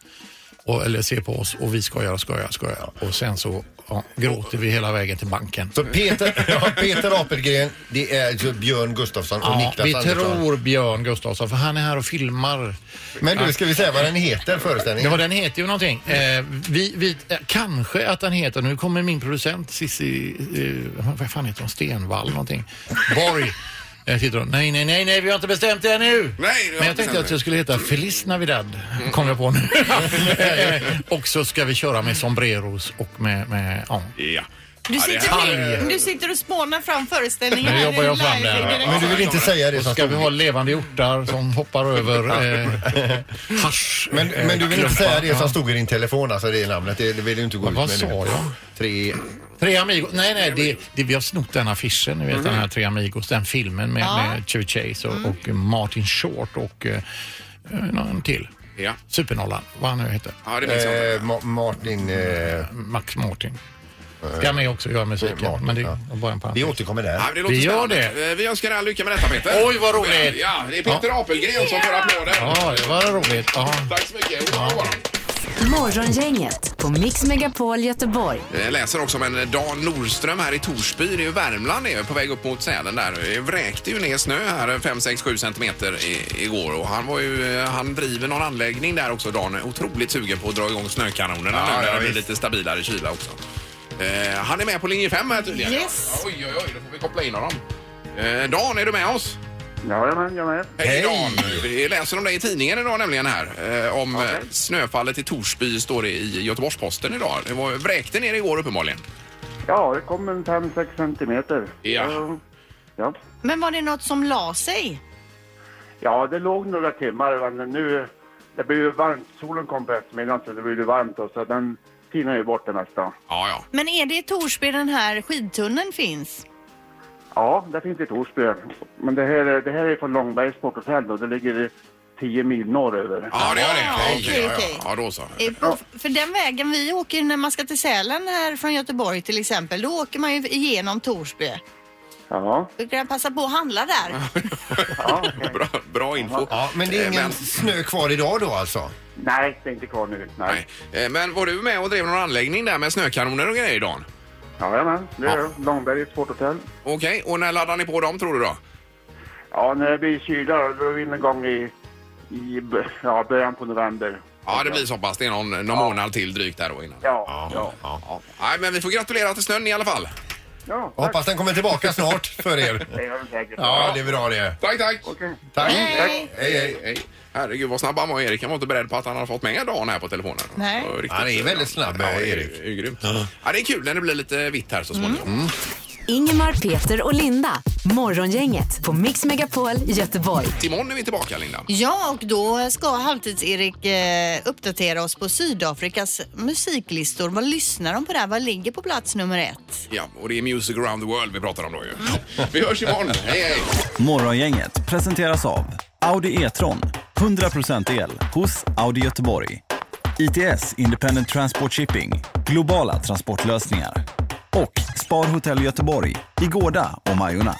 Speaker 8: och, eller ser på oss och vi skojar och skojar och skojar och sen så ja, gråter vi hela vägen till banken.
Speaker 2: Så Peter, <laughs> ja, Peter Apelgren, det är alltså Björn Gustafsson och
Speaker 8: Ja,
Speaker 2: Niklas
Speaker 8: vi
Speaker 2: Andersson.
Speaker 8: tror Björn Gustafsson för han är här och filmar.
Speaker 2: Men du, ska vi säga vad den heter, föreställningen?
Speaker 8: Ja, den heter ju någonting. Eh, vi, vi, eh, kanske att den heter, nu kommer min producent Cissi, eh, vad fan heter hon, Stenvall någonting, Borg. Eh, sitter hon. Nej, nej, nej, nej, vi har inte bestämt det ännu.
Speaker 1: det har inte
Speaker 8: Men jag tänkte
Speaker 1: bestämt
Speaker 8: att
Speaker 1: det.
Speaker 8: jag skulle heta Feliz Navidad, kom jag
Speaker 1: <laughs>
Speaker 8: på nu. Eh, och så ska vi köra med sombreros och med, med ja.
Speaker 1: Ja.
Speaker 10: Du
Speaker 1: Ja, det
Speaker 10: sitter,
Speaker 1: här-
Speaker 8: Alger.
Speaker 10: du sitter och spånar fram föreställningen.
Speaker 8: Nu
Speaker 10: här
Speaker 8: jobbar jag
Speaker 10: live
Speaker 8: fram det här.
Speaker 10: direkt.
Speaker 2: Men du vill inte säga det
Speaker 8: Och
Speaker 2: som
Speaker 8: ska vi
Speaker 2: stod
Speaker 8: ha levande hjortar som
Speaker 2: <laughs>
Speaker 8: hoppar över eh, hasch.
Speaker 2: men,
Speaker 8: eh,
Speaker 2: men du vill inte
Speaker 8: klumpar.
Speaker 2: säga det
Speaker 8: Ja.
Speaker 2: som stod i din telefon, alltså det namnet. Det, det vill du inte gå ut
Speaker 8: Vad
Speaker 2: med
Speaker 8: sa
Speaker 2: nu.
Speaker 8: jag?
Speaker 2: Tre...
Speaker 8: Tre Amigos. Nej, nej, det, det, vi har snott den affischen, ni vet den här Tre Amigos, den filmen med, med Chevy Chase och, och Martin Short och eh, någon till.
Speaker 1: Ja.
Speaker 8: Supernollan, vad han nu heter.
Speaker 1: Ja, det minns jag inte.
Speaker 2: Eh, Ma- Martin... Eh,
Speaker 8: Max Martin. Ska med också göra musiken,
Speaker 2: Martin,
Speaker 8: men det
Speaker 2: ja.
Speaker 8: var bara en
Speaker 2: vi
Speaker 8: parentes.
Speaker 2: återkommer där.
Speaker 1: Ja, men det låter
Speaker 8: Vi gör
Speaker 1: spännande.
Speaker 8: det.
Speaker 1: Eh, Vi önskar all lycka med detta Peter.
Speaker 8: Oj, vad roligt.
Speaker 1: Ja, det är Peter Apelgren som får applåder.
Speaker 8: Ja, det var roligt. Ja.
Speaker 1: Tack så mycket. Ja.
Speaker 4: Morgongänget på Mix Megapol Göteborg.
Speaker 1: Eh, Jag läser också om en Dan Nordström här i Torsby. Det är ju Värmland det är på väg upp mot Sälen där. Det vräkte ju ner snö här eh, 5, 6, 7 centimeter i, igår och han var ju, eh, han driver någon anläggning där också Dan. Är Otroligt sugen på att dra igång snökanonerna
Speaker 2: Ja,
Speaker 1: nu när
Speaker 2: ja,
Speaker 1: det blir
Speaker 2: visst.
Speaker 1: lite stabilare kyla också. Eh, han är med på linje 5 här tydligen.
Speaker 10: Yes.
Speaker 1: Oj, oj, oj, då får vi koppla in honom. Eh, Dan, är du med oss?
Speaker 5: Jajamän, jag med.
Speaker 1: Hej,
Speaker 2: Hej.
Speaker 1: Dan! Vi läser om dig i tidningen idag nämligen här. Eh, om eh, snöfallet i Torsby står det i Göteborgs-Posten idag. Det var, vräkte ner igår uppenbarligen.
Speaker 5: Ja, det kom en 5-6 centimeter.
Speaker 1: Ja.
Speaker 5: Så, ja.
Speaker 10: Men var det något som la sig?
Speaker 5: Ja, det låg några timmar. Men nu, det blev ju varmt. Solen kom på eftermiddagen så det blev ju varmt och så den tinar ju bort det mesta.
Speaker 1: Ja, ja.
Speaker 10: Men är det i Torsby den här skidtunneln finns?
Speaker 5: Ja, det finns i Torsby. Men det här, är- det här är från Långbergs sporthotell och det ligger 10 mil norröver.
Speaker 1: Ja, det gör det.
Speaker 10: Ah,
Speaker 1: Okej,
Speaker 10: okej,
Speaker 1: ja, ja.
Speaker 10: okej.
Speaker 1: Ja, då så.
Speaker 10: Eh, På, för den vägen vi åker när man ska till Sälen här från Göteborg till exempel, då åker man ju igenom Torsby.
Speaker 5: Ja,
Speaker 10: Då kan jag passa på att handla där.
Speaker 5: ja okej.
Speaker 1: <laughs> Bra, bra info.
Speaker 2: Ja, men det är
Speaker 1: Eh,
Speaker 2: ingen
Speaker 1: men-
Speaker 2: snö kvar idag då alltså?
Speaker 5: Nej, det är inte kvar nu. Nej.
Speaker 1: Nej. Eh, Men var du med och drev någon anläggning där med snökanoner och grejer, Dan?
Speaker 5: Jajamän, det är det. Långbergs sporthotell.
Speaker 1: Okej, och när laddar ni på dem tror du då?
Speaker 5: Ja, när det blir kyla då är vi en gång i, i b- ja, början på november.
Speaker 1: Ja, det blir så pass. Det är någon, någon månad till drygt där då innan.
Speaker 5: Ja, ja.
Speaker 1: Ja. Nej, men vi får gratulera till snön i alla fall.
Speaker 5: ja
Speaker 2: Jag
Speaker 5: tack.
Speaker 2: hoppas den kommer tillbaka snart för er.
Speaker 5: Det gör vi säkert.
Speaker 2: Ja, det är bra det.
Speaker 1: Tack, tack!
Speaker 5: Okej.
Speaker 2: Tack.
Speaker 10: Hej.
Speaker 2: Hej, hej.
Speaker 1: Hej. Herregud vad snabb han var Erik. Han var inte beredd på att han hade fått med Dan här på telefonen.
Speaker 10: Nej.
Speaker 1: Det var riktigt-
Speaker 2: Han är väldigt snabb,
Speaker 1: Ja, det är-
Speaker 2: Erik. Mm.
Speaker 1: det är grymt. Ja, det är kul när det blir lite vitt här så småningom.
Speaker 4: Ingemar, Peter och Linda. Morgongänget på Mix Megapol Göteborg.
Speaker 1: Imorgon är vi tillbaka Linda.
Speaker 3: Ja, och då ska Halvtids-Erik eh, uppdatera oss på Sydafrikas musiklistor. Vad lyssnar de på där? Vad ligger på plats nummer ett?
Speaker 1: Ja, och det är Music around the world vi pratar om då ju. Vi hörs imorgon. Hej, hej!
Speaker 11: Morgongänget presenteras av Audi E-tron. 100% el hos Audi Göteborg. ITS Independent Transport Shipping. Globala transportlösningar. Och Spar Hotel Göteborg i Gårda och Majorna.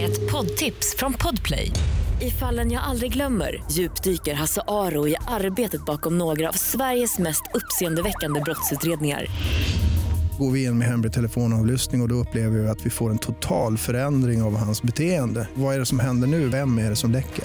Speaker 12: Ett poddtips från Podplay. I fallen jag aldrig glömmer djupdyker Hasse Aro i arbetet bakom några av Sveriges mest uppseendeväckande brottsutredningar.
Speaker 11: Går vi in med hemlig telefonavlyssning och, och då upplever vi att vi får en total förändring av hans beteende. Vad är det som händer nu? Vem är det som läcker?